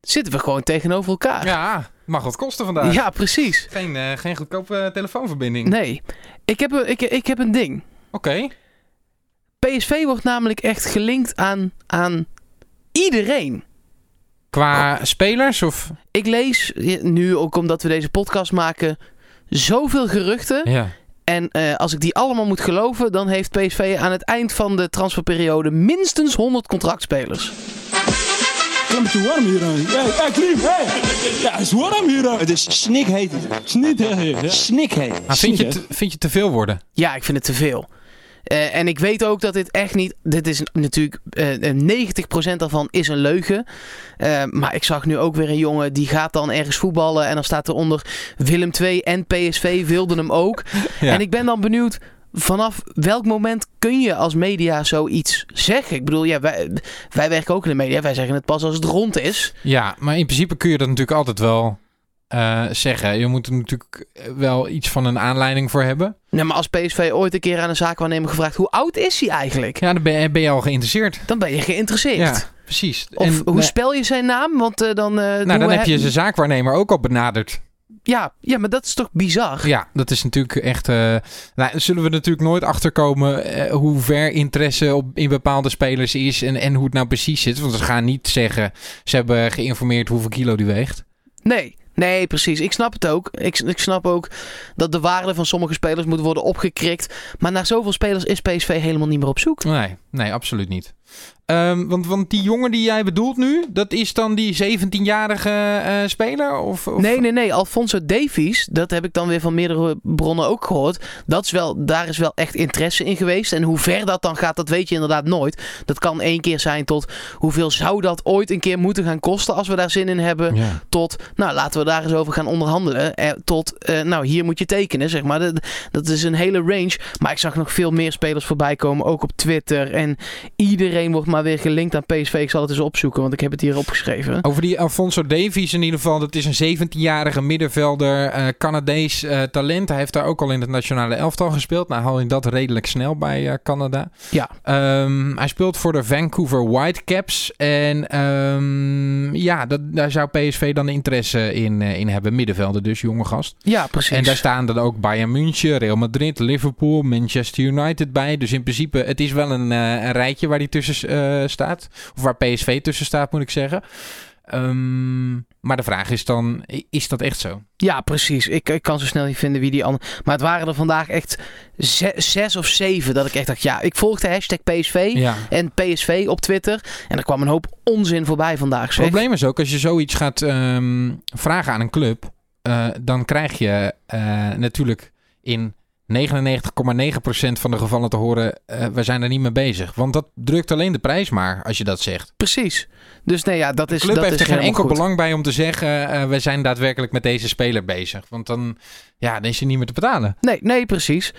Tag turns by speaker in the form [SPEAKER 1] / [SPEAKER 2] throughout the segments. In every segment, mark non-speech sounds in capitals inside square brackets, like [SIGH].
[SPEAKER 1] zitten we gewoon tegenover elkaar.
[SPEAKER 2] Ja, mag wat kosten vandaag.
[SPEAKER 1] Ja, precies.
[SPEAKER 2] Geen, eh, geen goedkope telefoonverbinding.
[SPEAKER 1] Nee, ik heb, een- ik, ik heb een ding.
[SPEAKER 2] Oké.
[SPEAKER 1] PSV wordt namelijk echt gelinkt aan, aan iedereen.
[SPEAKER 2] Qua
[SPEAKER 1] Oh.
[SPEAKER 2] spelers of...
[SPEAKER 1] Ik lees eh, nu, ook omdat we deze podcast maken, zoveel geruchten.
[SPEAKER 2] Ja.
[SPEAKER 1] En eh, als ik die allemaal moet geloven, dan heeft PSV aan het eind van de transferperiode minstens 100 contractspelers.
[SPEAKER 3] Klampje warm hier eh. aan. Hey, hey, Klim, hey. Ja, het is warm hier aan. Het is snikheet. Snikheet. Snikheet.
[SPEAKER 2] Maar vind je, te, vind je te veel worden?
[SPEAKER 1] Ja, ik vind het te veel. Eh, en ik weet ook dat dit echt niet. Dit is natuurlijk. eh 90% daarvan is een leugen. Eh, maar ik zag nu ook weer een jongen die gaat dan ergens voetballen. En dan staat eronder Willem II en PSV wilden hem ook.
[SPEAKER 2] Ja.
[SPEAKER 1] En ik ben dan benieuwd. Vanaf welk moment kun je als media zoiets zeggen? Ik bedoel, ja, wij, wij werken ook in de media. Wij zeggen het pas als het rond is.
[SPEAKER 2] Ja, maar in principe kun je dat natuurlijk altijd wel eh, zeggen. Je moet er natuurlijk wel iets van een aanleiding voor hebben.
[SPEAKER 1] Nee, Nou, maar als PSV ooit een keer aan een zaakwaarnemer gevraagd... hoe oud is hij eigenlijk?
[SPEAKER 2] Ja, dan ben je, ben je al geïnteresseerd.
[SPEAKER 1] Dan ben je geïnteresseerd.
[SPEAKER 2] Ja, precies.
[SPEAKER 1] Of
[SPEAKER 2] En,
[SPEAKER 1] hoe
[SPEAKER 2] nee,
[SPEAKER 1] spel je zijn naam? Want eh, dan. eh, doen
[SPEAKER 2] nou, dan
[SPEAKER 1] we
[SPEAKER 2] heb je zijn zaakwaarnemer ook al benaderd.
[SPEAKER 1] Ja, ja, maar dat is toch bizar?
[SPEAKER 2] Ja, dat is natuurlijk echt... eh nou, zullen we natuurlijk nooit achterkomen eh, hoe ver interesse op, in bepaalde spelers is en, en hoe het nou precies zit. Want ze gaan niet zeggen, ze hebben geïnformeerd hoeveel kilo die weegt.
[SPEAKER 1] Nee. Nee, precies. Ik snap het ook. Ik, ik snap ook dat de waarde van sommige spelers moet worden opgekrikt. Maar naar zoveel spelers is PSV helemaal niet meer op zoek.
[SPEAKER 2] Nee, nee, absoluut niet. Ehm, want, want die jongen die jij bedoelt nu, dat is dan die 17-jarige eh, speler? Of, of...
[SPEAKER 1] Nee, nee, nee. Alfonso Davies, dat heb ik dan weer van meerdere bronnen ook gehoord. Dat is wel, daar is wel echt interesse in geweest. En hoe ver dat dan gaat, dat weet je inderdaad nooit. Dat kan één keer zijn tot hoeveel zou dat ooit een keer moeten gaan kosten als we daar zin in hebben.
[SPEAKER 2] Ja.
[SPEAKER 1] tot, nou laten we daar eens over gaan onderhandelen. Eh, tot, eh, nou hier moet je tekenen, zeg maar. Dat, dat is een hele range. Maar ik zag nog veel meer spelers voorbij komen, ook op Twitter. En iedereen wordt maar weer gelinkt aan PSV. Ik zal het eens opzoeken, want ik heb het hier opgeschreven.
[SPEAKER 2] Over die Alfonso Davies in ieder geval. Dat is een 17-jarige middenvelder, eh Canadees eh, talent. Hij heeft daar ook al in het nationale elftal gespeeld. Nou haal je dat redelijk snel bij eh, Canada.
[SPEAKER 1] Ja.
[SPEAKER 2] Ehm, hij speelt voor de Vancouver Whitecaps. En ehm, ja, dat, daar zou PSV dan interesse in, eh, in hebben. Middenvelder dus, jonge gast.
[SPEAKER 1] Ja, precies.
[SPEAKER 2] En daar staan dan ook Bayern München, Real Madrid, Liverpool, Manchester United bij. Dus in principe, het is wel een, eh, een rijtje waar die tussen eh, staat. Of waar PSV tussen staat, moet ik zeggen. Ehm, maar de vraag is dan, i- is dat echt zo?
[SPEAKER 1] Ja, precies. Ik, ik kan zo snel niet vinden wie die ander. Maar het waren er vandaag echt ze- zes of zeven dat ik echt dacht, ja, ik volgde hashtag PSV.
[SPEAKER 2] Ja.
[SPEAKER 1] En PSV op Twitter. En er kwam een hoop onzin voorbij vandaag.
[SPEAKER 2] Het
[SPEAKER 1] Zeg.
[SPEAKER 2] probleem is ook, als je zoiets gaat ehm, vragen aan een club, eh, dan krijg je eh, natuurlijk in 99,9% van de gevallen te horen, eh, we zijn er niet mee bezig. Want dat drukt alleen de prijs maar, als je dat zegt.
[SPEAKER 1] Precies. Dus nee, ja, dat is.
[SPEAKER 2] De club
[SPEAKER 1] dat is
[SPEAKER 2] heeft er geen
[SPEAKER 1] helemaal
[SPEAKER 2] enkel
[SPEAKER 1] goed.
[SPEAKER 2] belang bij om te zeggen... eh, we zijn daadwerkelijk met deze speler bezig. Want dan, ja, dan is hij niet meer te betalen.
[SPEAKER 1] Nee, nee, precies.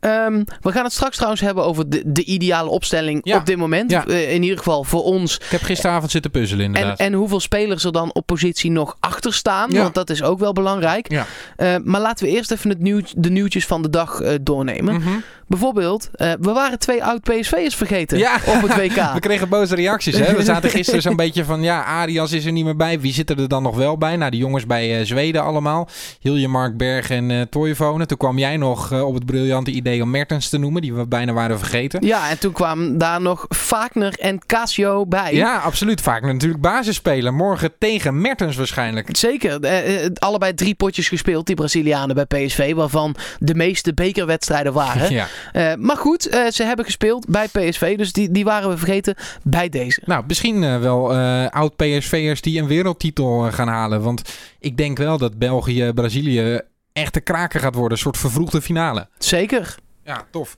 [SPEAKER 1] Ehm, we gaan het straks trouwens hebben over de, de ideale opstelling
[SPEAKER 2] Ja.
[SPEAKER 1] op dit moment.
[SPEAKER 2] Ja.
[SPEAKER 1] Eh, in ieder geval voor ons.
[SPEAKER 2] Ik heb gisteravond zitten puzzelen
[SPEAKER 1] En,
[SPEAKER 2] inderdaad.
[SPEAKER 1] en hoeveel spelers er dan op positie nog achter staan.
[SPEAKER 2] Ja.
[SPEAKER 1] Want dat is ook wel belangrijk.
[SPEAKER 2] Ja.
[SPEAKER 1] Eh, maar laten we eerst even het nieuw, de nieuwtjes van de dag eh, doornemen.
[SPEAKER 2] Mhm.
[SPEAKER 1] Bijvoorbeeld, eh, we waren twee oud-PSV'ers vergeten
[SPEAKER 2] Ja.
[SPEAKER 1] op het
[SPEAKER 2] [LAUGHS]
[SPEAKER 1] WK.
[SPEAKER 2] We kregen boze reacties. Hè?
[SPEAKER 1] [LAUGHS]
[SPEAKER 2] We zaten gisteren zo'n beetje van... ja, Arias is er niet meer bij. Wie zitten er dan nog wel bij? Nou, die jongens bij eh, Zweden allemaal. Hilje, Mark Berg en eh Toivonen. Toen kwam jij nog eh, op het briljante idee om Mertens te noemen... die we bijna waren vergeten.
[SPEAKER 1] Ja, en toen kwamen daar nog Wagner en Casio bij.
[SPEAKER 2] Ja, absoluut. Vaak natuurlijk basisspeler. Morgen tegen Mertens waarschijnlijk.
[SPEAKER 1] Zeker. Eh, eh, allebei drie potjes gespeeld, die Brazilianen bij PSV. Waarvan de meeste bekerwedstrijden waren.
[SPEAKER 2] Ja.
[SPEAKER 1] Eh, maar goed, eh, ze hebben gespeeld bij PSV. Dus die, die waren we vergeten bij deze.
[SPEAKER 2] Nou, misschien eh, wel eh, oud-PSV'ers die een wereldtitel eh, gaan halen. Want ik denk wel dat België-Brazilië echt de kraker gaat worden. Een soort vervroegde finale.
[SPEAKER 1] Zeker.
[SPEAKER 2] Ja, tof.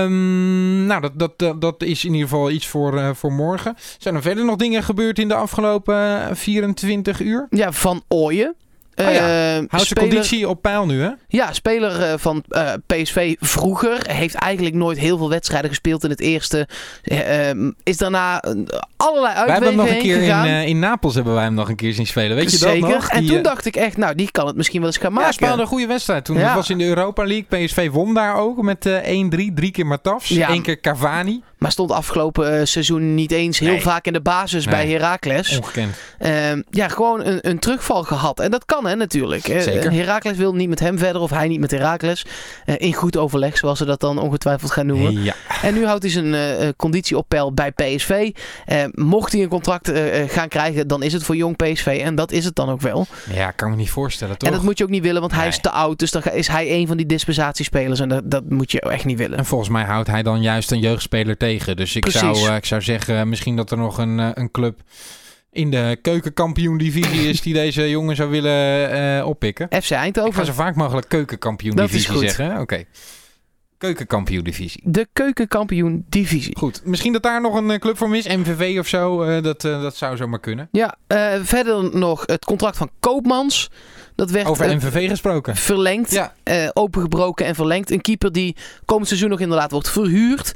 [SPEAKER 2] Ehm, nou, dat, dat, dat, dat is in ieder geval iets voor, eh, voor morgen. Zijn er verder nog dingen gebeurd in de afgelopen eh, 24 uur?
[SPEAKER 1] Ja, Van Ooyen.
[SPEAKER 2] Oh
[SPEAKER 1] Eh,
[SPEAKER 2] Houdt zijn
[SPEAKER 1] speler,
[SPEAKER 2] conditie op peil nu, hè?
[SPEAKER 1] ja, speler eh, van eh, PSV vroeger. Heeft eigenlijk nooit heel veel wedstrijden gespeeld in het eerste. Eh, eh, is daarna eh, allerlei
[SPEAKER 2] Wij hebben hem
[SPEAKER 1] uitwegingen
[SPEAKER 2] nog een keer in,
[SPEAKER 1] ingegaan.
[SPEAKER 2] eh, in Napels hebben wij hem nog een keer zien spelen. Weet je
[SPEAKER 1] Zeker.
[SPEAKER 2] dat nog?
[SPEAKER 1] en
[SPEAKER 2] Die,
[SPEAKER 1] toen
[SPEAKER 2] eh,
[SPEAKER 1] dacht ik echt, nou, die kan het misschien wel eens gaan
[SPEAKER 2] Ja,
[SPEAKER 1] maken.
[SPEAKER 2] speelde een goede wedstrijd toen.
[SPEAKER 1] Ja.
[SPEAKER 2] Het was in de Europa League. PSV won daar ook met eh 1-3. Drie keer Matafs.
[SPEAKER 1] Ja.
[SPEAKER 2] één keer Cavani.
[SPEAKER 1] Maar stond afgelopen eh, seizoen niet eens heel
[SPEAKER 2] Nee.
[SPEAKER 1] vaak in de basis
[SPEAKER 2] Nee.
[SPEAKER 1] bij Heracles.
[SPEAKER 2] Ongekend.
[SPEAKER 1] Ehm, ja, gewoon een, een terugval gehad. En dat kan hè, natuurlijk. Eh,
[SPEAKER 2] Zeker.
[SPEAKER 1] Heracles wil niet met hem verder of hij niet met Heracles. Eh, in goed overleg, zoals ze dat dan ongetwijfeld gaan noemen.
[SPEAKER 2] Ja.
[SPEAKER 1] En nu houdt hij zijn eh, eh, conditie op peil bij PSV. Eh, mocht hij een contract eh, eh, gaan krijgen, dan is het voor jong PSV. En dat is het dan ook wel.
[SPEAKER 2] ja, kan me niet voorstellen, toch?
[SPEAKER 1] En dat moet je ook niet willen, want hij
[SPEAKER 2] Nee.
[SPEAKER 1] is te oud. Dus dan ga- is hij een van die dispensatiespelers. En dat, dat moet je echt niet willen.
[SPEAKER 2] En volgens mij houdt hij dan juist een jeugdspeler tegen. Dus ik,
[SPEAKER 1] Precies.
[SPEAKER 2] zou, eh, ik zou zeggen, eh, misschien dat er nog een, eh, een club in de keukenkampioen-divisie is die deze jongen zou willen eh, oppikken.
[SPEAKER 1] FC
[SPEAKER 2] Ik ga
[SPEAKER 1] Eindhoven.
[SPEAKER 2] zo vaak mogelijk
[SPEAKER 1] Dat
[SPEAKER 2] keukenkampioen-divisie
[SPEAKER 1] is goed.
[SPEAKER 2] zeggen. hè? Oké. Keukenkampioen-divisie.
[SPEAKER 1] De keukenkampioen divisie.
[SPEAKER 2] Goed, misschien dat daar nog een eh, club voor is. MVV of zo, eh, dat, eh, dat zou zomaar kunnen.
[SPEAKER 1] Ja, eh, verder nog het contract van Koopmans. Dat werd
[SPEAKER 2] Over
[SPEAKER 1] eh,
[SPEAKER 2] MVV gesproken.
[SPEAKER 1] verlengd.
[SPEAKER 2] Ja.
[SPEAKER 1] eh, opengebroken en verlengd. Een keeper die komend seizoen nog inderdaad wordt verhuurd.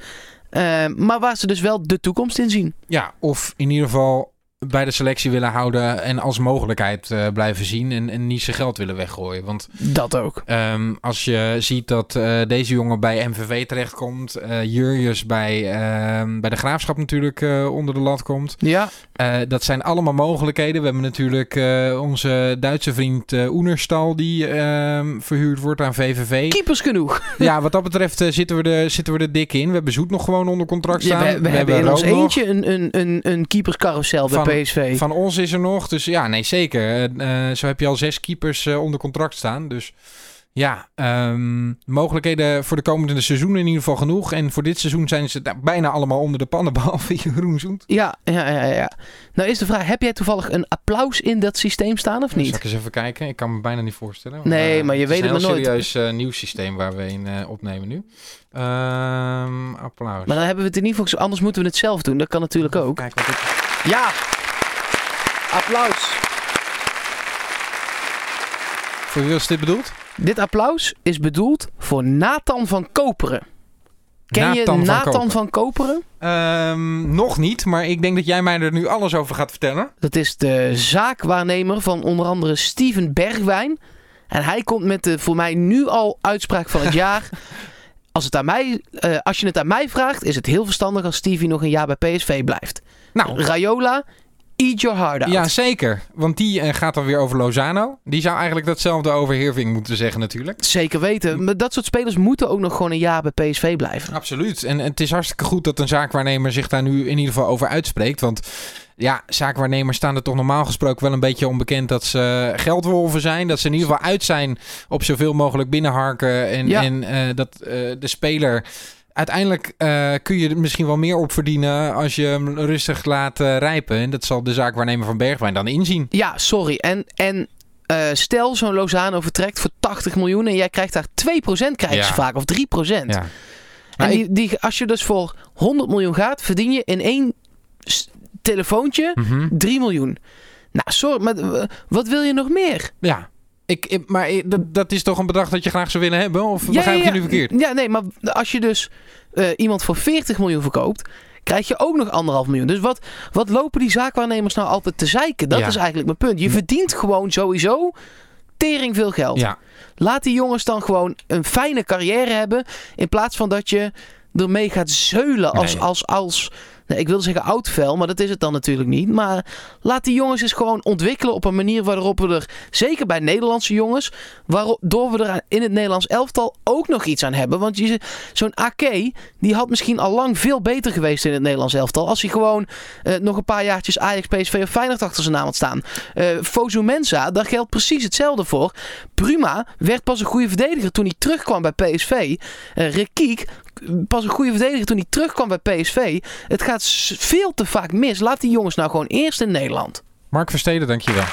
[SPEAKER 1] Eh, maar waar ze dus wel de toekomst in zien.
[SPEAKER 2] Ja, of in ieder geval bij de selectie willen houden en als mogelijkheid eh, blijven zien en, en niet zijn geld willen weggooien. Want
[SPEAKER 1] Dat ook.
[SPEAKER 2] Ehm, als je ziet dat eh, deze jongen bij MVV terechtkomt, eh Jurjus bij, ehm, bij de Graafschap natuurlijk eh, onder de lat komt.
[SPEAKER 1] Ja,
[SPEAKER 2] Eh, dat zijn allemaal mogelijkheden. We hebben natuurlijk eh, onze Duitse vriend eh Oenerstal die ehm, verhuurd wordt aan VVV.
[SPEAKER 1] keepers genoeg.
[SPEAKER 2] Ja, wat dat betreft eh, zitten, we er, zitten we er dik in. We hebben Zoet nog gewoon onder contract
[SPEAKER 1] Ja,
[SPEAKER 2] staan.
[SPEAKER 1] we, we hebben in
[SPEAKER 2] Rood
[SPEAKER 1] ons
[SPEAKER 2] nog.
[SPEAKER 1] eentje een, een, een, een keeperscarousel bij
[SPEAKER 2] Van-
[SPEAKER 1] PSV.
[SPEAKER 2] Van ons is er nog. Dus ja, nee, zeker. Eh, eh, zo heb je al zes keepers eh, onder contract staan. Dus ja, ehm, mogelijkheden voor de komende seizoenen in ieder geval genoeg. En voor dit seizoen zijn ze daar bijna allemaal onder de pannen, [LAUGHS] behalve Jeroen Zoent.
[SPEAKER 1] Ja, ja, ja, ja. Nou is de vraag, heb jij toevallig een applaus in dat systeem staan of
[SPEAKER 2] Zal
[SPEAKER 1] niet?
[SPEAKER 2] ik eens even kijken? Ik kan me bijna niet voorstellen. eh,
[SPEAKER 1] Nee, maar je weet het
[SPEAKER 2] Het is
[SPEAKER 1] maar
[SPEAKER 2] een heel
[SPEAKER 1] nooit.
[SPEAKER 2] serieus eh, nieuw systeem waar we in eh, opnemen nu. Ehm, applaus.
[SPEAKER 1] Maar dan hebben we het in ieder geval, anders moeten we het zelf doen. Dat kan natuurlijk ook.
[SPEAKER 2] Kijk wat ik...
[SPEAKER 1] Ja! Applaus!
[SPEAKER 2] Voor wie was dit bedoeld?
[SPEAKER 1] Dit applaus is bedoeld voor Nathan van Koperen. Ken je
[SPEAKER 2] Nathan van
[SPEAKER 1] Nathan
[SPEAKER 2] Koper.
[SPEAKER 1] van Koperen?
[SPEAKER 2] Ehm, nog niet, maar ik denk dat jij mij er nu alles over gaat vertellen.
[SPEAKER 1] Dat is de zaakwaarnemer van onder andere Steven Bergwijn. En hij komt met de voor mij nu al uitspraak
[SPEAKER 2] [LAUGHS]
[SPEAKER 1] van het jaar. Als, het aan mij, eh, als je het aan mij vraagt, is het heel verstandig als Stevie nog een jaar bij PSV blijft.
[SPEAKER 2] Nou,
[SPEAKER 1] Rayola, eat your heart out.
[SPEAKER 2] Ja, zeker. Want die eh, gaat dan weer over Lozano. Die zou eigenlijk datzelfde over Heerving moeten zeggen natuurlijk.
[SPEAKER 1] Zeker weten. Maar dat soort spelers moeten ook nog gewoon een jaar bij PSV blijven.
[SPEAKER 2] Absoluut. En het is hartstikke goed dat een zaakwaarnemer zich daar nu in ieder geval over uitspreekt. Want ja, zaakwaarnemers staan er toch normaal gesproken wel een beetje onbekend dat ze eh, geldwolven zijn. Dat ze in ieder geval uit zijn op zoveel mogelijk binnenharken. En,
[SPEAKER 1] Ja.
[SPEAKER 2] en eh, dat eh, de speler... Uiteindelijk eh, kun je er misschien wel meer op verdienen als je hem rustig laat eh, rijpen. En dat zal de zaakwaarnemer van Bergwijn dan inzien.
[SPEAKER 1] Ja, sorry. En, en eh, stel zo'n Lozano vertrekt voor 80 miljoen en jij krijgt daar 2% krijgen
[SPEAKER 2] Ja.
[SPEAKER 1] ze vaak, of 3%.
[SPEAKER 2] Ja.
[SPEAKER 1] En
[SPEAKER 2] Maar
[SPEAKER 1] die, die, als je dus voor 100 miljoen gaat, verdien je in één s- telefoontje
[SPEAKER 2] Mhm.
[SPEAKER 1] 3 miljoen. Nou, sorry, maar eh, wat wil je nog meer?
[SPEAKER 2] Ja. Ik, ik- maar ik- dat, dat is toch een bedrag dat je graag zou willen hebben? Of begrijp ik je nu verkeerd?
[SPEAKER 1] Ja, nee, maar als je dus eh, iemand voor 40 miljoen verkoopt, krijg je ook nog anderhalf miljoen. Dus wat, wat lopen die zaakwaarnemers nou altijd te zeiken? Dat
[SPEAKER 2] Ja.
[SPEAKER 1] is eigenlijk mijn punt. Je verdient gewoon sowieso tering veel geld.
[SPEAKER 2] Ja,
[SPEAKER 1] Laat die jongens dan gewoon een fijne carrière hebben. In plaats van dat je ermee gaat zeulen als.
[SPEAKER 2] Nee.
[SPEAKER 1] als, als nee, ik wilde zeggen oud vuil, maar dat is het dan natuurlijk niet. Maar laat die jongens eens gewoon ontwikkelen op een manier waarop we er, zeker bij Nederlandse jongens, waardoor we er aan- in het Nederlands elftal ook nog iets aan hebben. Want je- zo'n Ake, die had misschien al lang veel beter geweest in het Nederlands elftal. Als hij gewoon eh, nog een paar jaartjes Ajax, PSV of Feyenoord achter zijn naam had staan. Eh Fosu Mensa, daar geldt precies hetzelfde voor. Prima werd pas een goede verdediger toen hij terugkwam bij PSV. Eh Rekiek, pas een goede verdediger toen hij terugkwam bij PSV. Het gaat s- veel te vaak mis. Laat die jongens nou gewoon eerst in Nederland.
[SPEAKER 2] Mark Versteden, dankjewel.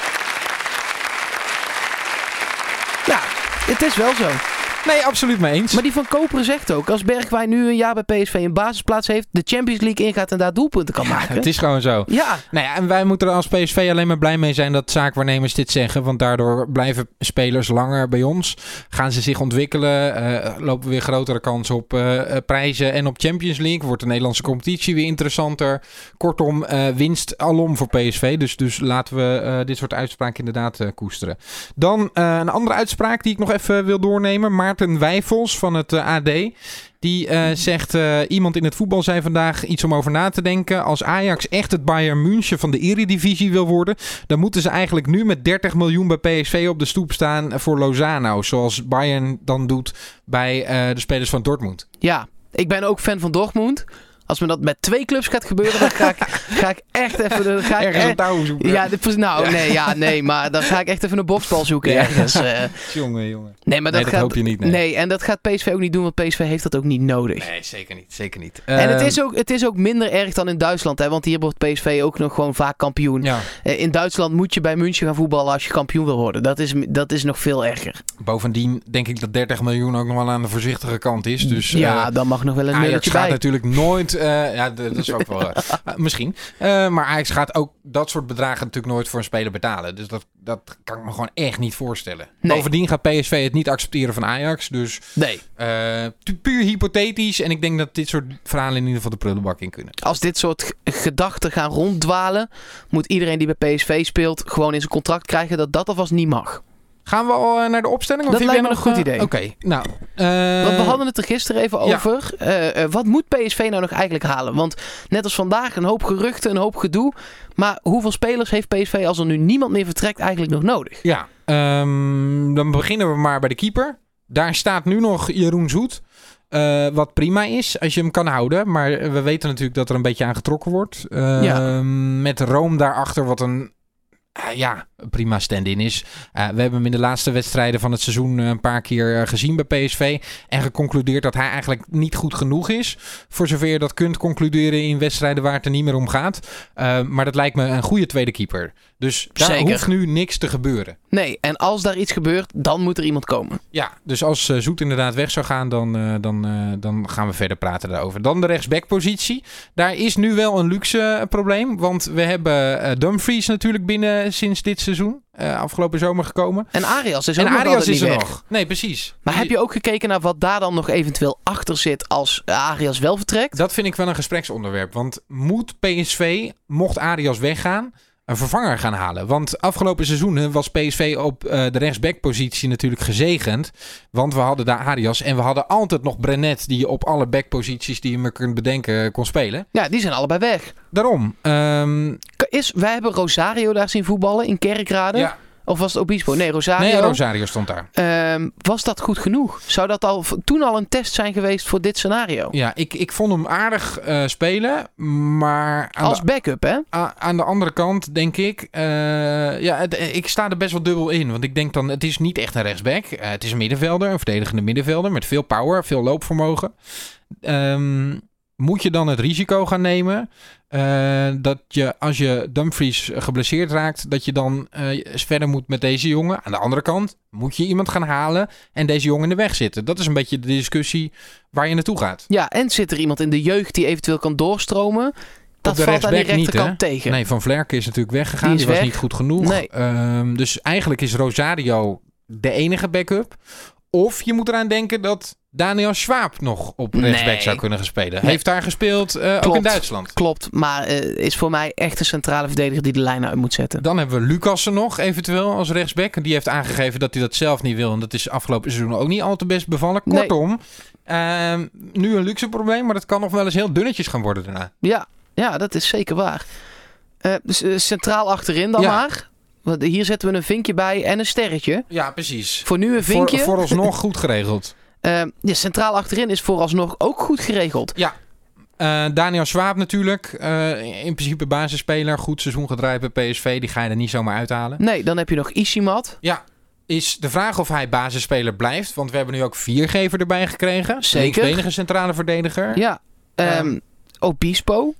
[SPEAKER 1] Ja, het is wel zo.
[SPEAKER 2] Nee, absoluut mee eens.
[SPEAKER 1] Maar die van Koperen zegt ook, als Bergwijn nu een jaar bij PSV een basisplaats heeft, de Champions League ingaat en daar doelpunten kan maken.
[SPEAKER 2] het is gewoon zo.
[SPEAKER 1] Ja,
[SPEAKER 2] Nou ja, en wij moeten er als PSV alleen maar blij mee zijn dat zaakwaarnemers dit zeggen. Want daardoor blijven spelers langer bij ons. Gaan ze zich ontwikkelen. eh, lopen weer grotere kans op eh, eh, prijzen en op Champions League. Wordt de Nederlandse competitie weer interessanter. Kortom, eh, winst alom voor PSV. Dus, dus laten we eh, dit soort uitspraken inderdaad eh, koesteren. Dan eh, een andere uitspraak die ik nog even wil doornemen. Maarten Maarten Wijfels van het eh, AD. Die eh,
[SPEAKER 1] Mhm.
[SPEAKER 2] zegt, eh, iemand in het voetbal zei vandaag iets om over na te denken. Als Ajax echt het Bayern München van de Eredivisie wil worden... dan moeten ze eigenlijk nu met 30 miljoen bij PSV op de stoep staan voor Lozano. Zoals Bayern dan doet bij eh, de spelers van Dortmund.
[SPEAKER 1] Ja, ik ben ook fan van Dortmund. Als me dat met twee clubs gaat gebeuren, dan ga ik, ga ik echt even... Dan ga ik
[SPEAKER 2] Ergens een
[SPEAKER 1] echt-
[SPEAKER 2] touw zoeken.
[SPEAKER 1] eh, ja, dit is- nou, nee, ja, nee, maar dan ga ik echt even een boksbal zoeken
[SPEAKER 2] Ja.
[SPEAKER 1] ergens. eh.
[SPEAKER 2] jongen, jongen.
[SPEAKER 1] nee, maar dat,
[SPEAKER 2] nee, dat
[SPEAKER 1] gaat,
[SPEAKER 2] hoop je niet.
[SPEAKER 1] nee.
[SPEAKER 2] Nee.
[SPEAKER 1] en dat gaat PSV ook niet doen, want PSV heeft dat ook niet nodig.
[SPEAKER 2] Nee, zeker niet. Zeker niet.
[SPEAKER 1] En het
[SPEAKER 2] Ehm,
[SPEAKER 1] is, ook, het is ook minder erg dan in Duitsland, hè? want hier wordt PSV ook nog gewoon vaak kampioen.
[SPEAKER 2] Ja,
[SPEAKER 1] Eh, In Duitsland moet je bij München gaan voetballen als je kampioen wil worden. Dat is, dat is nog veel erger.
[SPEAKER 2] bovendien denk ik dat 30 miljoen ook nog wel aan de voorzichtige kant is. Dus, eh,
[SPEAKER 1] ja, dan mag nog wel een
[SPEAKER 2] Ajax
[SPEAKER 1] nulletje
[SPEAKER 2] gaat
[SPEAKER 1] bij.
[SPEAKER 2] natuurlijk nooit. eh, ja, d- dat is ook
[SPEAKER 1] [LAUGHS]
[SPEAKER 2] wel. eh, eh, misschien. Eh, maar Ajax gaat ook dat soort bedragen natuurlijk nooit voor een speler betalen. Dus dat, dat kan ik me gewoon echt niet voorstellen.
[SPEAKER 1] Nee.
[SPEAKER 2] Bovendien gaat PSV het niet accepteren van Ajax. Dus
[SPEAKER 1] Nee,
[SPEAKER 2] eh, pu- puur hypothetisch. En ik denk dat dit soort verhalen in ieder geval de prullenbak in kunnen.
[SPEAKER 1] als dit soort g- gedachten gaan ronddwalen, moet iedereen die bij PSV speelt gewoon in zijn contract krijgen dat dat alvast niet mag.
[SPEAKER 2] Gaan we al eh, naar de opstelling?
[SPEAKER 1] Dat
[SPEAKER 2] heb
[SPEAKER 1] lijkt
[SPEAKER 2] jij
[SPEAKER 1] me
[SPEAKER 2] nog,
[SPEAKER 1] een goed
[SPEAKER 2] eh,
[SPEAKER 1] idee.
[SPEAKER 2] Oké, nou. eh,
[SPEAKER 1] Want we hadden het er gisteren even
[SPEAKER 2] ja.
[SPEAKER 1] over. Eh, eh, wat moet PSV nou nog eigenlijk halen? Want net als vandaag, een hoop geruchten, een hoop gedoe. Maar hoeveel spelers heeft PSV als er nu niemand meer vertrekt eigenlijk nog nodig?
[SPEAKER 2] Ja, ehm, dan beginnen we maar bij de keeper. Daar staat nu nog Jeroen Zoet. Eh, wat prima is, als je hem kan houden. Maar we weten natuurlijk dat er een beetje aan getrokken wordt. Ehm,
[SPEAKER 1] Ja.
[SPEAKER 2] Met Room daarachter, wat een eh, ja, een prima stand-in is. Eh, we hebben hem in de laatste wedstrijden van het seizoen eh, een paar keer eh, gezien bij PSV. En geconcludeerd dat hij eigenlijk niet goed genoeg is. Voor zover je dat kunt concluderen in wedstrijden waar het er niet meer om gaat. Eh, maar dat lijkt me een goede tweede keeper. Dus daar
[SPEAKER 1] Zeker.
[SPEAKER 2] hoeft nu niks te gebeuren.
[SPEAKER 1] Nee, en als daar iets gebeurt, dan moet er iemand komen.
[SPEAKER 2] Ja, dus als eh, Zoet inderdaad weg zou gaan, dan, eh, dan, eh, dan gaan we verder praten daarover. Dan de rechtsbackpositie. Daar is nu wel een luxe eh, probleem, want we hebben eh, Dumfries natuurlijk binnen sinds dit seizoen. eh, afgelopen zomer gekomen.
[SPEAKER 1] En Arias is ook
[SPEAKER 2] en
[SPEAKER 1] nog
[SPEAKER 2] Arias
[SPEAKER 1] altijd
[SPEAKER 2] is
[SPEAKER 1] niet
[SPEAKER 2] er
[SPEAKER 1] weg.
[SPEAKER 2] nog. Nee, precies.
[SPEAKER 1] Maar
[SPEAKER 2] Die-
[SPEAKER 1] heb je ook gekeken naar wat daar dan nog eventueel achter zit als eh, Arias wel vertrekt?
[SPEAKER 2] Dat vind ik wel een gespreksonderwerp. Want moet PSV, mocht Arias weggaan, een vervanger gaan halen? Want afgelopen seizoenen was PSV op eh, de rechtsbackpositie natuurlijk gezegend. Want we hadden daar Arias en we hadden altijd nog Brenet... die je op alle backposities die je maar kunt bedenken eh, kon spelen.
[SPEAKER 1] Ja, die zijn allebei weg.
[SPEAKER 2] Daarom. ehm,
[SPEAKER 1] Ka- Is, wij hebben Rosario daar zien voetballen in Kerkrade.
[SPEAKER 2] ja.
[SPEAKER 1] Of was het Obispo? Nee, Rosario.
[SPEAKER 2] Nee, Rosario stond daar.
[SPEAKER 1] Ehm, was dat goed genoeg? Zou dat al v- toen al een test zijn geweest voor dit scenario?
[SPEAKER 2] Ja, ik, ik vond hem aardig eh, spelen, maar... aan de
[SPEAKER 1] Als backup, hè?
[SPEAKER 2] A- aan de andere kant denk ik, eh, ja, het- ik sta er best wel dubbel in. Want ik denk dan, het is niet echt een rechtsback. Eh, het is een middenvelder, een verdedigende middenvelder met veel power, veel loopvermogen. Ehm, moet je dan het risico gaan nemen eh, dat je als je Dumfries geblesseerd raakt, dat je dan eh, verder moet met deze jongen? Aan de andere kant moet je iemand gaan halen en deze jongen in de weg zitten. Dat is een beetje de discussie waar je naartoe gaat.
[SPEAKER 1] Ja, en zit er iemand in de jeugd die eventueel kan doorstromen? Dat
[SPEAKER 2] de
[SPEAKER 1] valt aan die
[SPEAKER 2] rechtsback niet,
[SPEAKER 1] rechterkant
[SPEAKER 2] hè?
[SPEAKER 1] tegen.
[SPEAKER 2] Nee, Van Vlerken is natuurlijk weggegaan.
[SPEAKER 1] Die
[SPEAKER 2] Die,
[SPEAKER 1] is
[SPEAKER 2] was
[SPEAKER 1] weg.
[SPEAKER 2] niet goed genoeg.
[SPEAKER 1] Nee.
[SPEAKER 2] Ehm, dus eigenlijk is Rosario de enige backup. Of je moet eraan denken dat Daniel Schwab nog op
[SPEAKER 1] Nee.
[SPEAKER 2] rechtsback zou kunnen gaan spelen.
[SPEAKER 1] Nee.
[SPEAKER 2] Heeft daar gespeeld, eh, ook
[SPEAKER 1] Klopt.
[SPEAKER 2] in Duitsland.
[SPEAKER 1] Klopt, maar eh, is voor mij echt een centrale verdediger die de lijn uit moet zetten.
[SPEAKER 2] Dan hebben we Lucassen nog eventueel als rechtsback. Die heeft aangegeven dat hij dat zelf niet wil. En dat is afgelopen seizoen ook niet al te best bevallen.
[SPEAKER 1] Nee.
[SPEAKER 2] Kortom, ehm, nu een luxe probleem. Maar dat kan nog wel eens heel dunnetjes gaan worden daarna.
[SPEAKER 1] Ja, ja dat is zeker waar. Eh, dus, eh, centraal achterin dan
[SPEAKER 2] Ja.
[SPEAKER 1] maar. Want hier zetten we een vinkje bij en een sterretje.
[SPEAKER 2] Ja, precies.
[SPEAKER 1] Voor nu een
[SPEAKER 2] Voor,
[SPEAKER 1] vinkje.
[SPEAKER 2] vooralsnog goed geregeld.
[SPEAKER 1] Eh, ja, centraal achterin is vooralsnog ook goed geregeld.
[SPEAKER 2] Eh, Daniel Swaap natuurlijk. Eh, in principe basisspeler. Goed seizoen gedraaid bij PSV. Die ga je er niet zomaar uithalen.
[SPEAKER 1] Nee, dan heb je nog Isimat.
[SPEAKER 2] Is de vraag of hij basisspeler blijft. Want we hebben nu ook Viergever erbij gekregen.
[SPEAKER 1] Zeker.
[SPEAKER 2] Linksbenige centrale verdediger.
[SPEAKER 1] Ja. Ehm, Obispo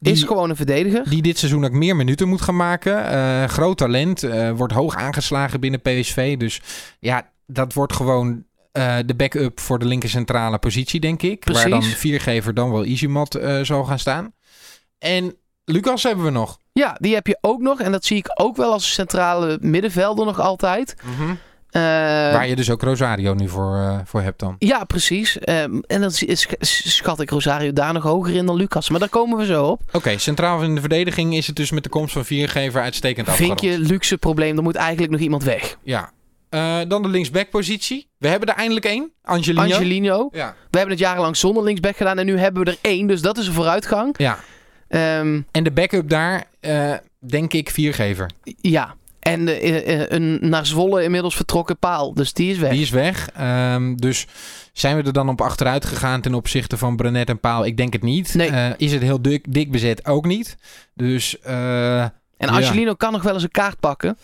[SPEAKER 2] die,
[SPEAKER 1] is gewoon een verdediger.
[SPEAKER 2] die dit seizoen ook meer minuten moet gaan maken. Eh, groot talent. eh, wordt hoog aangeslagen binnen PSV. Dus ja, dat wordt gewoon... eh, de backup voor de linker centrale positie, denk ik. Waar dan
[SPEAKER 1] Precies.
[SPEAKER 2] Viergever dan wel Easymat eh zal gaan staan. En Lucas hebben we nog.
[SPEAKER 1] Ja, die heb je ook nog. En dat zie ik ook wel als centrale middenvelder nog altijd. Eh,
[SPEAKER 2] Waar je dus ook Rosario nu voor, eh, voor hebt dan.
[SPEAKER 1] Ja, precies. Ehm, en dan sch- sch- schat ik Rosario daar nog hoger in dan Lucas. Maar daar komen we zo op.
[SPEAKER 2] Oké, centraal in de verdediging is het dus met de komst van Viergever uitstekend
[SPEAKER 1] Vind
[SPEAKER 2] afgerond.
[SPEAKER 1] je luxe probleem, dan moet eigenlijk nog iemand weg.
[SPEAKER 2] Ja. Eh, dan de linksbackpositie. We hebben er eindelijk één. Angelino.
[SPEAKER 1] Angelino.
[SPEAKER 2] Ja.
[SPEAKER 1] We hebben het jarenlang zonder linksback gedaan en nu hebben we er één. Dus dat is een vooruitgang.
[SPEAKER 2] ja.
[SPEAKER 1] Ehm,
[SPEAKER 2] En de backup daar, eh, denk ik, viergever.
[SPEAKER 1] ja. En eh, eh, een naar Zwolle inmiddels vertrokken paal. Dus die is weg.
[SPEAKER 2] Die is weg. Ehm, dus zijn we er dan op achteruit gegaan ten opzichte van Brenet en Paal? Ik denk het niet.
[SPEAKER 1] Nee.
[SPEAKER 2] Eh, is het heel dik, dik bezet? Ook niet. Dus eh,
[SPEAKER 1] En
[SPEAKER 2] Ja.
[SPEAKER 1] Angelino kan nog wel eens een kaart pakken.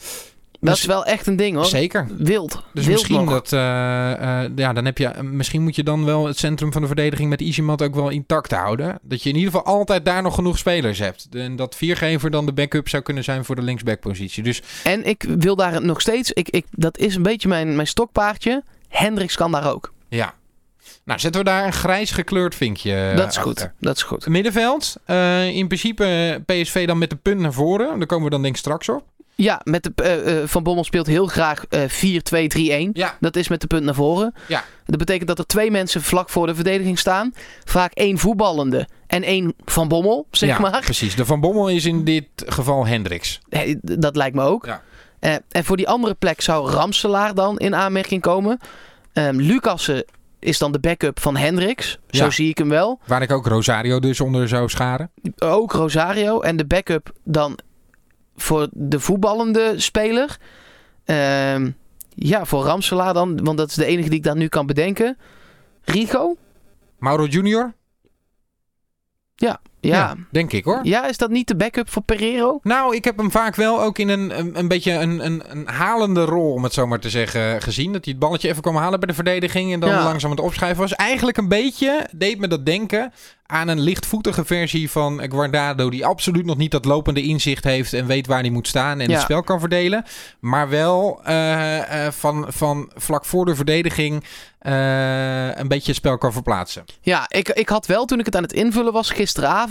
[SPEAKER 1] Dat
[SPEAKER 2] Miss-
[SPEAKER 1] is wel echt een ding hoor.
[SPEAKER 2] zeker.
[SPEAKER 1] Wild.
[SPEAKER 2] Dus
[SPEAKER 1] Wild
[SPEAKER 2] misschien
[SPEAKER 1] nog.
[SPEAKER 2] dat, eh, eh, ja, dan heb je, misschien moet je dan wel het centrum van de verdediging met Isimat ook wel intact houden. Dat je in ieder geval altijd daar nog genoeg spelers hebt. En dat viergever dan de backup zou kunnen zijn voor de linksbackpositie. Dus
[SPEAKER 1] En ik wil daar nog steeds... Ik, ik, dat is een beetje mijn, mijn stokpaardje. Hendricks kan daar ook.
[SPEAKER 2] ja. Nou, zetten we daar een grijs gekleurd vinkje eh,
[SPEAKER 1] dat is goed.
[SPEAKER 2] achter.
[SPEAKER 1] Dat is goed.
[SPEAKER 2] Middenveld, eh, in principe eh, PSV dan met de punt naar voren. Daar komen we dan denk ik straks op.
[SPEAKER 1] Ja, met de, eh, eh, Van Bommel speelt heel graag eh 4-2-3-1.
[SPEAKER 2] Ja.
[SPEAKER 1] Dat is met de punt naar voren.
[SPEAKER 2] Ja.
[SPEAKER 1] Dat betekent dat er twee mensen vlak voor de verdediging staan. Vaak één voetballende en één Van Bommel, zeg
[SPEAKER 2] ja,
[SPEAKER 1] maar.
[SPEAKER 2] precies. De Van Bommel is in dit geval Hendricks.
[SPEAKER 1] Eh, d- Dat lijkt me ook.
[SPEAKER 2] Ja.
[SPEAKER 1] Eh, en voor die andere plek zou Ramselaar dan in aanmerking komen. Ehm Lucassen is dan de backup van Hendricks. Zo
[SPEAKER 2] Ja.
[SPEAKER 1] zie ik hem wel.
[SPEAKER 2] Waar ik ook Rosario dus onder zou scharen.
[SPEAKER 1] Ook Rosario. En de backup dan voor de voetballende speler. Ehm, ja, voor Ramselaar dan. Want dat is de enige die ik dan nu kan bedenken. Rigo?
[SPEAKER 2] Mauro Junior?
[SPEAKER 1] Ja.
[SPEAKER 2] Denk ik hoor.
[SPEAKER 1] ja. is dat niet de backup voor Pereiro?
[SPEAKER 2] Nou, ik heb hem vaak wel ook in een, een, een beetje een, een, een halende rol, om het zo maar te zeggen, gezien. Dat hij het balletje even kwam halen bij de verdediging en dan
[SPEAKER 1] Ja.
[SPEAKER 2] langzaam aan het opschuiven was. Eigenlijk een beetje, deed me dat denken, aan een lichtvoetige versie van Guardado. Die absoluut nog niet dat lopende inzicht heeft en weet waar hij moet staan en
[SPEAKER 1] Ja.
[SPEAKER 2] het spel kan verdelen. Maar wel eh, eh, van, van vlak voor de verdediging eh, een beetje het spel kan verplaatsen.
[SPEAKER 1] Ja, ik, ik had wel toen ik het aan het invullen was gisteravond.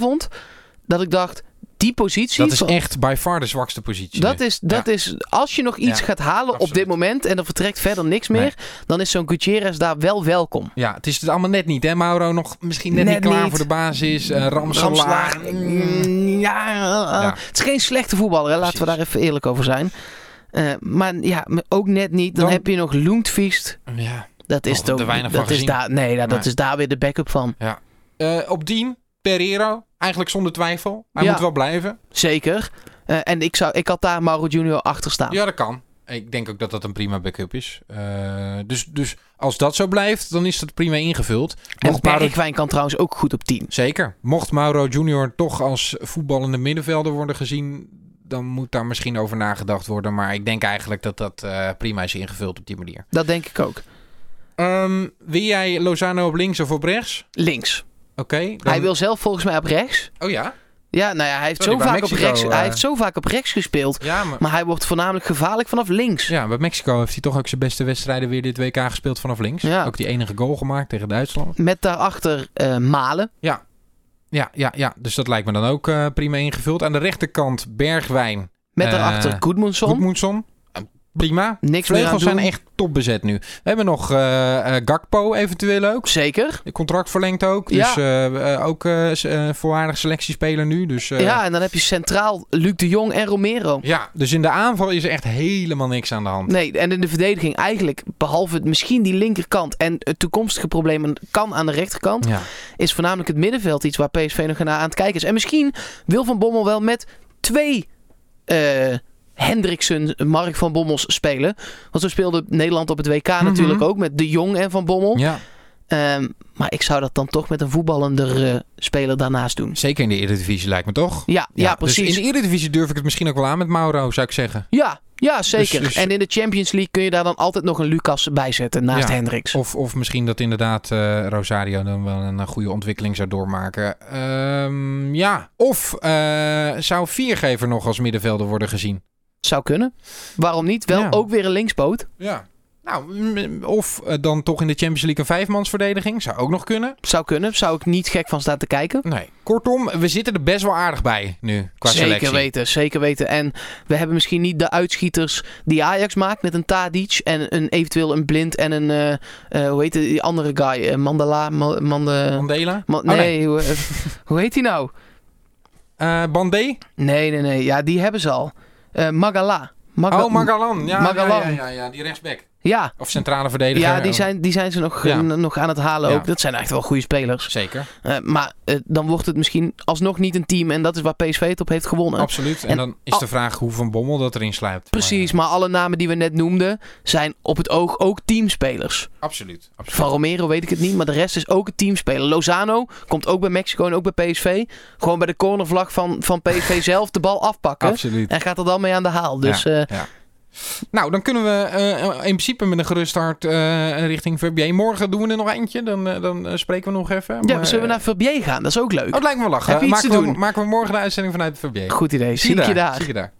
[SPEAKER 1] Dat ik dacht, die positie
[SPEAKER 2] Dat is
[SPEAKER 1] van-
[SPEAKER 2] echt by far de zwakste positie.
[SPEAKER 1] Dat is, dat is, als je nog iets
[SPEAKER 2] Ja,
[SPEAKER 1] gaat halen op
[SPEAKER 2] absoluut.
[SPEAKER 1] dit moment en er vertrekt verder niks meer, dan is zo'n Gutierrez daar wel welkom.
[SPEAKER 2] Ja, het is het allemaal net niet, hè, Mauro? Nog misschien net,
[SPEAKER 1] Net
[SPEAKER 2] niet klaar
[SPEAKER 1] niet.
[SPEAKER 2] voor de basis. eh Ramselaar.
[SPEAKER 1] Ramslaag.
[SPEAKER 2] Mm.
[SPEAKER 1] Ja, eh,
[SPEAKER 2] Ja.
[SPEAKER 1] het is geen slechte voetballer, hè, laten we daar
[SPEAKER 2] Precies.
[SPEAKER 1] even eerlijk over zijn. Eh, maar ja, maar ook net niet. Dan,
[SPEAKER 2] Dan-
[SPEAKER 1] heb je nog Loentviest.
[SPEAKER 2] Ja.
[SPEAKER 1] Dat is
[SPEAKER 2] Nog
[SPEAKER 1] toch.
[SPEAKER 2] te weinig
[SPEAKER 1] dat
[SPEAKER 2] van
[SPEAKER 1] is
[SPEAKER 2] gezien.
[SPEAKER 1] daar, nee, nou, dat
[SPEAKER 2] Nee.
[SPEAKER 1] is daar weer de backup van.
[SPEAKER 2] Eh, op 10, Pereiro. Eigenlijk zonder twijfel. Hij
[SPEAKER 1] Ja.
[SPEAKER 2] moet wel blijven.
[SPEAKER 1] Zeker. Eh, en ik, zou, ik had daar Mauro Junior achter staan.
[SPEAKER 2] Ja, dat kan. Ik denk ook dat dat een prima backup is. Eh, dus, dus als dat zo blijft, dan is dat prima ingevuld.
[SPEAKER 1] en
[SPEAKER 2] Mocht Mauro,
[SPEAKER 1] Bergwijn kan trouwens ook goed op 10.
[SPEAKER 2] zeker. Mocht Mauro Junior toch als voetballende middenvelder worden gezien, dan moet daar misschien over nagedacht worden. Maar ik denk eigenlijk dat dat eh, prima is ingevuld op die manier.
[SPEAKER 1] Dat denk ik ook.
[SPEAKER 2] Ehm wil jij Lozano op links of op rechts?
[SPEAKER 1] Links.
[SPEAKER 2] Oké. dan-
[SPEAKER 1] Hij wil zelf volgens mij op rechts.
[SPEAKER 2] Oh ja?
[SPEAKER 1] Ja, nou ja, hij heeft,
[SPEAKER 2] Sorry,
[SPEAKER 1] zo
[SPEAKER 2] bij
[SPEAKER 1] vaak, op
[SPEAKER 2] Mexico,
[SPEAKER 1] rechts,
[SPEAKER 2] eh.
[SPEAKER 1] hij heeft zo vaak op rechts gespeeld.
[SPEAKER 2] Ja, maar...
[SPEAKER 1] Maar hij wordt voornamelijk gevaarlijk vanaf links.
[SPEAKER 2] Ja, bij Mexico heeft hij toch ook zijn beste wedstrijden weer dit WK gespeeld vanaf links.
[SPEAKER 1] Ja.
[SPEAKER 2] Ook die enige goal gemaakt tegen Duitsland.
[SPEAKER 1] Met daarachter eh, Malen.
[SPEAKER 2] Ja, ja, ja. Dus dat lijkt me dan ook eh, prima ingevuld. Aan de rechterkant Bergwijn,
[SPEAKER 1] Met
[SPEAKER 2] Eh,
[SPEAKER 1] daarachter Goedmundsson.
[SPEAKER 2] Goedmoedson. Eh, Prima.
[SPEAKER 1] Niks meer aan
[SPEAKER 2] Vleugels zijn
[SPEAKER 1] doen.
[SPEAKER 2] echt topbezet nu. We hebben nog eh, eh, Gakpo eventueel ook.
[SPEAKER 1] Zeker.
[SPEAKER 2] De Contract verlengd ook.
[SPEAKER 1] Ja.
[SPEAKER 2] Dus eh, eh, ook eh, s- eh, voorwaardig selectiespeler nu. Dus, eh,
[SPEAKER 1] ja, en dan heb je centraal Luc de Jong en Romero.
[SPEAKER 2] ja, dus in de aanval is er echt helemaal niks aan de hand.
[SPEAKER 1] Nee, en in de verdediging eigenlijk, behalve het- misschien die linkerkant en het toekomstige probleem aan- kan aan de rechterkant,
[SPEAKER 2] Ja.
[SPEAKER 1] is voornamelijk het middenveld iets waar PSV nog naar aan het kijken is. En misschien wil Van Bommel wel met twee eh Hendriksen, Mark van Bommels spelen. Want zo speelde Nederland op het WK natuurlijk ook met De Jong en Van Bommel.
[SPEAKER 2] Mhm. ja.
[SPEAKER 1] Ehm, maar ik zou dat dan toch met een voetballender eh, speler daarnaast doen.
[SPEAKER 2] Zeker in de Eredivisie lijkt me toch?
[SPEAKER 1] Ja, ja, precies.
[SPEAKER 2] Dus in de Eredivisie durf ik het misschien ook wel aan met Mauro, zou ik zeggen.
[SPEAKER 1] Ja, ja, zeker.
[SPEAKER 2] Dus- dus-
[SPEAKER 1] En in de Champions League kun je daar dan altijd nog een Lucas bij zetten naast
[SPEAKER 2] Ja.
[SPEAKER 1] Hendricks.
[SPEAKER 2] Of, of misschien dat inderdaad eh, Rosario dan wel een eh, goede ontwikkeling zou doormaken. Ehm, ja, of eh, zou Viergever nog als middenvelder worden gezien?
[SPEAKER 1] Zou kunnen. Waarom niet? Wel
[SPEAKER 2] Ja.
[SPEAKER 1] ook weer een linksboot.
[SPEAKER 2] Ja. Nou, mm, of eh, dan toch in de Champions League een vijfmansverdediging. Zou ook nog kunnen.
[SPEAKER 1] Zou kunnen. Zou ik niet gek van staan te kijken.
[SPEAKER 2] Nee. Kortom, we zitten er best wel aardig bij nu qua
[SPEAKER 1] zeker
[SPEAKER 2] selectie.
[SPEAKER 1] weten, zeker weten. En we hebben misschien niet de uitschieters die Ajax maakt met een Tadic en een, eventueel een Blind en een, eh, eh, hoe heet die andere guy? Eh, Mandala? Ma- Mande,
[SPEAKER 2] Mandela?
[SPEAKER 1] Ma-
[SPEAKER 2] Oh,
[SPEAKER 1] nee,
[SPEAKER 2] nee.
[SPEAKER 1] Hoe, eh, [LAUGHS] hoe heet die nou?
[SPEAKER 2] Eh, Bandé?
[SPEAKER 1] Nee, nee, nee. Ja, die hebben ze al. Eh, Magala. Maga-
[SPEAKER 2] Oh, Magalan. Ja,
[SPEAKER 1] Magalan.
[SPEAKER 2] Ja, ja, ja, ja, die rechtsback.
[SPEAKER 1] Ja, Ja,
[SPEAKER 2] Of centrale verdediger. Oh,
[SPEAKER 1] ja die, zijn, die zijn ze nog,
[SPEAKER 2] Ja.
[SPEAKER 1] n- nog aan het halen
[SPEAKER 2] Ja.
[SPEAKER 1] ook. Dat zijn echt wel goede spelers.
[SPEAKER 2] Zeker,
[SPEAKER 1] Eh, maar eh, dan wordt het misschien alsnog niet een team. En dat is waar PSV het op heeft gewonnen.
[SPEAKER 2] absoluut. En,
[SPEAKER 1] en-
[SPEAKER 2] dan is de vraag hoe Van Bommel dat erin sluipt.
[SPEAKER 1] Precies, maar eh, alle namen die we net noemden zijn op het oog ook teamspelers.
[SPEAKER 2] Maar, absoluut. absoluut.
[SPEAKER 1] Van Romero weet ik het niet, maar de rest is ook een teamspeler. Lozano komt ook bij Mexico en ook bij PSV. Gewoon bij de cornervlag van, van [LAUGHS] PSV zelf de bal afpakken.
[SPEAKER 2] Absoluut.
[SPEAKER 1] En gaat er dan mee aan de haal. Dus eh,
[SPEAKER 2] Ja. Nou, dan kunnen we eh, in principe met een gerust hart eh, richting VBA. Morgen doen we er nog eentje, dan, eh, dan eh, spreken we nog even.
[SPEAKER 1] ja,
[SPEAKER 2] Maar,
[SPEAKER 1] zullen we
[SPEAKER 2] eh,
[SPEAKER 1] naar Verbier gaan? Dat is ook leuk.
[SPEAKER 2] Oh, het lijkt me wel lachen.
[SPEAKER 1] Heb je iets
[SPEAKER 2] maken,
[SPEAKER 1] te
[SPEAKER 2] we,
[SPEAKER 1] doen?
[SPEAKER 2] maken we morgen de uitzending vanuit VBA.
[SPEAKER 1] Goed idee, zie ik je daar.
[SPEAKER 2] Zie je daar.